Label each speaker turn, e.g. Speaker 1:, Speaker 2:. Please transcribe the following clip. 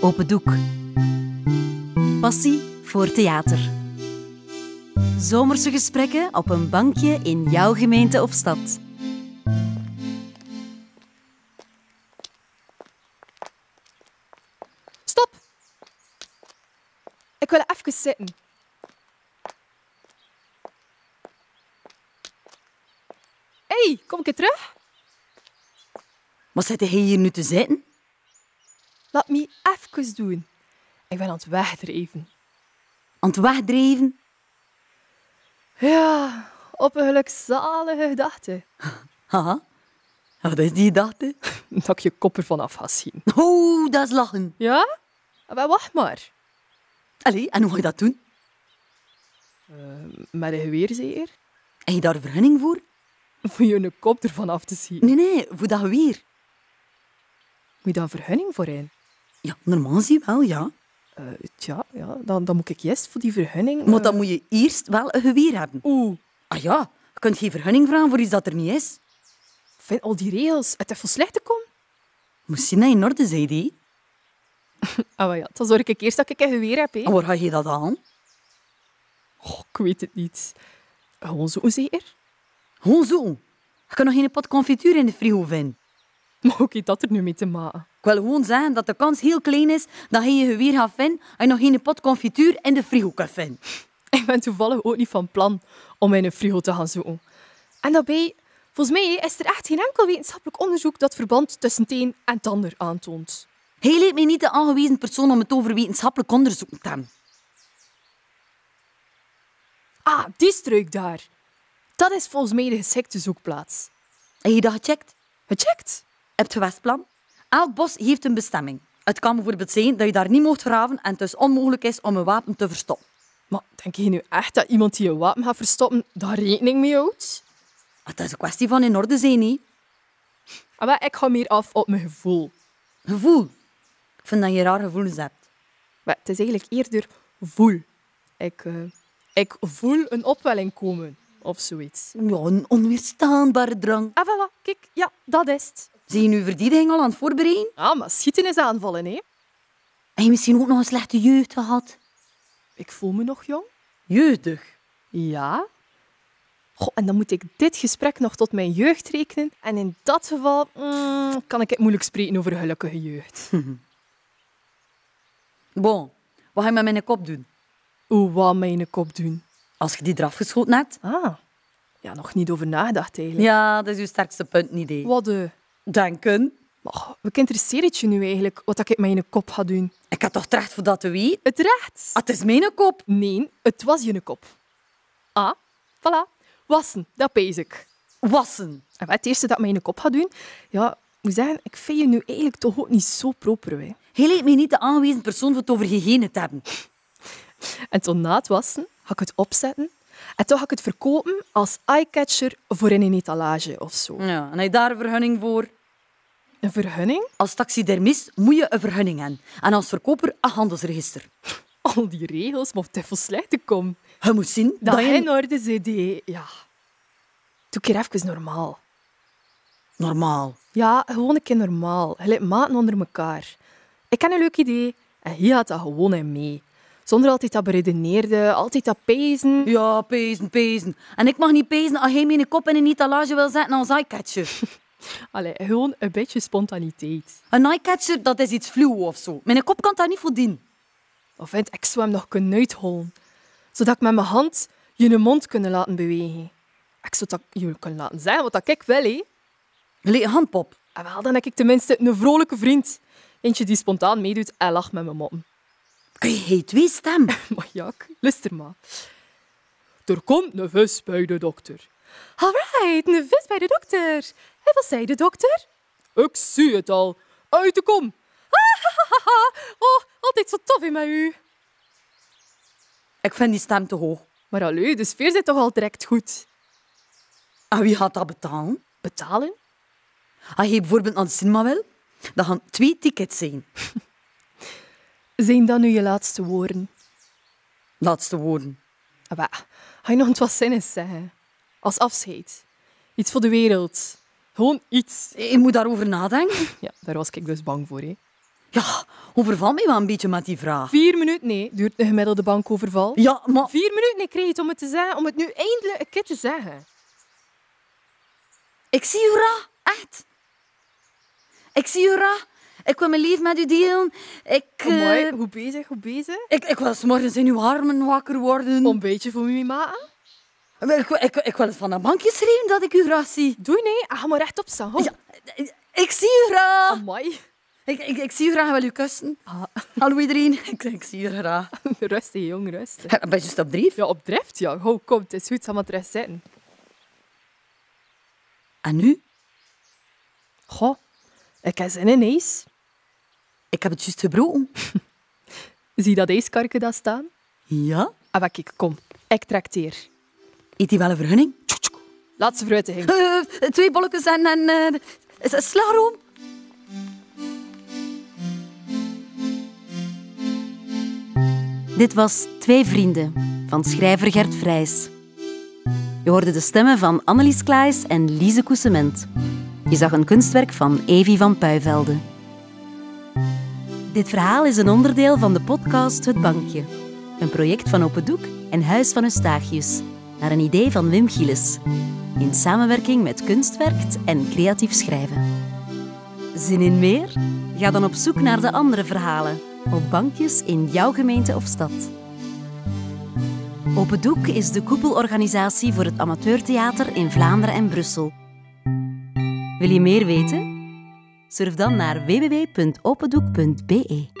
Speaker 1: Open Doek. Passie voor theater. Zomerse gesprekken op een bankje in jouw gemeente of stad.
Speaker 2: Stop! Ik wil even zitten. hey, kom ik terug?
Speaker 1: Wat zit jij hier nu te zitten?
Speaker 2: Laat me even doen. Ik ben aan het wegdrijven.
Speaker 1: Aan het wegdrijven?
Speaker 2: Ja, op een gelukzalige gedachte.
Speaker 1: Haha. Wat is die gedachte?
Speaker 2: Dat ik je kop ervan af ga zien.
Speaker 1: Oeh, dat is lachen.
Speaker 2: Ja? Maar wacht maar.
Speaker 1: Allee, en hoe ga je dat doen?
Speaker 2: Eh, Met een geweer zeker?
Speaker 1: Heb je daar vergunning voor?
Speaker 2: Voor je een kop ervan af te zien.
Speaker 1: Nee, nee, voor dat weer.
Speaker 2: Moet je daar vergunning voor in?
Speaker 1: Ja, normaal zie je wel, ja.
Speaker 2: Eh, tja, ja, dan, dan moet ik eerst voor die vergunning...
Speaker 1: Maar
Speaker 2: eh,
Speaker 1: dan moet je eerst wel een geweer hebben.
Speaker 2: Oeh,
Speaker 1: Ah ja, je kunt geen vergunning vragen voor iets dat er niet is.
Speaker 2: vind al die regels. Het heeft veel slecht te komen.
Speaker 1: Moest je naar in orde, zei die.
Speaker 2: Ah, maar ja, dan zorg ik eerst dat ik een geweer heb, hè.
Speaker 1: En waar ga je dat aan?
Speaker 2: Goh, Ah, Oh, ik weet het niet. Oh, Gewoon zo zeker?
Speaker 1: Gewoon zo. Je kan nog geen pot confituur in de frigo vinden.
Speaker 2: Maar ook heeft dat er nu mee te maken?
Speaker 1: Ik wil gewoon zeggen dat de kans heel klein is dat je je geweer gaat vinden en nog geen pot confituur in de frigo kan vinden.
Speaker 2: Ik ben toevallig ook niet van plan om in een frigo te gaan zoeken. En daarbij, volgens mij is er echt geen enkel wetenschappelijk onderzoek dat verband tussen het een en het ander aantoont.
Speaker 1: Hij lijkt mij niet de aangewezen persoon om het over wetenschappelijk onderzoek te hebben.
Speaker 2: Ah, die struik daar. Dat is volgens mij de geschikte zoekplaats.
Speaker 1: Heb je dat gecheckt?
Speaker 2: Gecheckt?
Speaker 1: Heb je westplan? Elk bos heeft een bestemming. Het kan bijvoorbeeld zijn dat je daar niet mocht graven en het dus onmogelijk is om een wapen te verstoppen.
Speaker 2: Maar denk je nu echt dat iemand die een wapen gaat verstoppen daar rekening mee houdt?
Speaker 1: Het is een kwestie van in orde zijn, hè.
Speaker 2: Ah, wel, ik ga meer af op mijn gevoel.
Speaker 1: Gevoel. Ik vind dat je raar gevoelens hebt.
Speaker 2: Maar het is eigenlijk eerder voel. Ik, eh, ik voel een opwelling komen of zoiets.
Speaker 1: Ja, een onweerstaanbare drang.
Speaker 2: Ah, voilà, kijk, ja, dat is het.
Speaker 1: Zijn je nu verdediging al aan het voorbereiden?
Speaker 2: Ah, maar schieten is aanvallen, hè?
Speaker 1: Heb je misschien ook nog een slechte jeugd gehad?
Speaker 2: Ik voel me nog jong.
Speaker 1: Jeugdig?
Speaker 2: Ja. Goh, en dan moet ik dit gesprek nog tot mijn jeugd rekenen. En in dat geval mm, kan ik het moeilijk spreken over gelukkige jeugd.
Speaker 1: Bon, wat ga je met mijn kop doen?
Speaker 2: Hoe wat mijn kop doen?
Speaker 1: Als je die eraf geschoten hebt?
Speaker 2: Ah, ja, nog niet over nagedacht eigenlijk.
Speaker 1: Ja, dat is je sterkste punt, niet idee.
Speaker 2: Wat de...
Speaker 1: Denken?
Speaker 2: Maar, wat interesseert het je nu eigenlijk wat ik met mijn kop ga doen?
Speaker 1: Ik had toch terecht voor dat te weten?
Speaker 2: Het recht?
Speaker 1: Ah, het is mijn kop.
Speaker 2: Nee, het was je kop. Ah, voilà. Wassen, dat pees ik.
Speaker 1: Wassen.
Speaker 2: En wat het eerste dat ik met mijn kop ga doen... Ja, ik moet zeggen, ik vind je nu eigenlijk toch ook niet zo proper, hè.
Speaker 1: Hij lijkt mij niet de aangewezen persoon voor het over gegenen te hebben.
Speaker 2: En toen na het wassen ga ik het opzetten. En toen ga ik het verkopen als eyecatcher voor in een etalage of zo.
Speaker 1: Ja, en heb je daar een vergunning voor?
Speaker 2: Een vergunning?
Speaker 1: Als taxidermist moet je een vergunning hebben. En als verkoper een handelsregister.
Speaker 2: Al die regels, maar het voor slecht te komen.
Speaker 1: Je moet zien
Speaker 2: Dat,
Speaker 1: dat, je...
Speaker 2: in orde, CD. Ja. Doe ik hier even normaal.
Speaker 1: Normaal.
Speaker 2: Ja, gewoon een keer normaal. Gelijk maten onder elkaar. Ik heb een leuk idee en hier gaat dat gewoon in mee. Zonder altijd dat beredeneerde, altijd dat pezen.
Speaker 1: Ja, pezen, pezen. En ik mag niet pezen als jij mijn kop in een etalage wil zetten als eyecatcher.
Speaker 2: Allee, gewoon een beetje spontaniteit.
Speaker 1: Een eyecatcher, dat is iets fluw of zo. Mijn kop kan daar niet voor dienen.
Speaker 2: Of vind ik zou hem nog kunnen uithollen. Zodat ik met mijn hand je mond kunnen laten bewegen. Ik zou dat je kunnen laten zijn, wat dat ik wil. Hé.
Speaker 1: Gelijk een handpop.
Speaker 2: En wel, dan heb ik tenminste een vrolijke vriend. Eentje die spontaan meedoet en lacht met mijn moppen.
Speaker 1: Kun je geen twee stemmen?
Speaker 2: Maar Jaak, luister maar. Er komt een vis bij de dokter. Alright, een vis bij de dokter. En wat zei de dokter? Ik zie het al. Uit de kom. Oh, altijd zo tof in met u.
Speaker 1: Ik vind die stem te hoog.
Speaker 2: Maar allee, de sfeer zit toch al direct goed.
Speaker 1: En wie gaat dat betalen?
Speaker 2: Betalen?
Speaker 1: Als je bijvoorbeeld naar de cinema wil, dan gaan twee tickets zijn.
Speaker 2: Zijn dat nu je laatste woorden?
Speaker 1: Laatste woorden.
Speaker 2: Ah, bah, ga je nog iets wat zinnigs zeggen? Als afscheid. Iets voor de wereld. Gewoon iets.
Speaker 1: Je moet daarover nadenken.
Speaker 2: Ja, daar was ik dus bang voor. Hè.
Speaker 1: Ja, overval mij wel een beetje met die vraag.
Speaker 2: Vier minuten, nee, duurt een gemiddelde bankoverval.
Speaker 1: Ja, maar...
Speaker 2: Vier minuten kreeg je het om het te zeggen, om het nu eindelijk een keer te zeggen.
Speaker 1: Ik zie u ra. Echt. Ik zie u ra. Ik wil mijn lief met u delen. Ik...
Speaker 2: Oh, mooi,
Speaker 1: eh,
Speaker 2: goed bezig, goed bezig.
Speaker 1: ik, ik wil 's morgens in uw armen wakker worden.
Speaker 2: Een beetje voor mij maken.
Speaker 1: Ik, ik, ik wil het van een bankje schreeuwen dat ik u graag zie.
Speaker 2: Doei, nee, ga Ah, maar rechtop staan. Ho.
Speaker 1: Ja, ik zie u graag.
Speaker 2: Amai.
Speaker 1: Ik, ik, ik zie u graag, ik wil u kussen.
Speaker 2: Ah,
Speaker 1: Hallo iedereen, ik, ik zie u graag.
Speaker 2: rustig, jong, rustig.
Speaker 1: Een beetje stap drie.
Speaker 2: Ja, op drift, ja. Ho, kom, het is goed, ga maar terecht zitten.
Speaker 1: En nu?
Speaker 2: Goh, ik heb zin in ijs.
Speaker 1: Ik heb het juist gebroken.
Speaker 2: Zie dat ijskarken dat staan?
Speaker 1: Ja?
Speaker 2: Ah, wat kijk, kom. Ik trakteer.
Speaker 1: Eet die wel een vergunning?
Speaker 2: Laatste fruitiging.
Speaker 1: Eh, twee bolletjes en... en eh, is het slagroom?
Speaker 3: Dit was Twee Vrienden van schrijver Gert Vrijs. Je hoorde de stemmen van Annelies Klaes en Lise Koesement. Je zag een kunstwerk van Evi van Puivelde. Dit verhaal is een onderdeel van de podcast Het Bankje. Een project van Open Doek en Huis van Eustachius. Naar een idee van Wim Gilles. In samenwerking met Kunstwerkt en Creatief Schrijven. Zin in meer? Ga dan op zoek naar de andere verhalen op bankjes in jouw gemeente of stad. Open Doek is de koepelorganisatie voor het amateurtheater in Vlaanderen en Brussel. Wil je meer weten? Surf dan naar www.opendoek.be.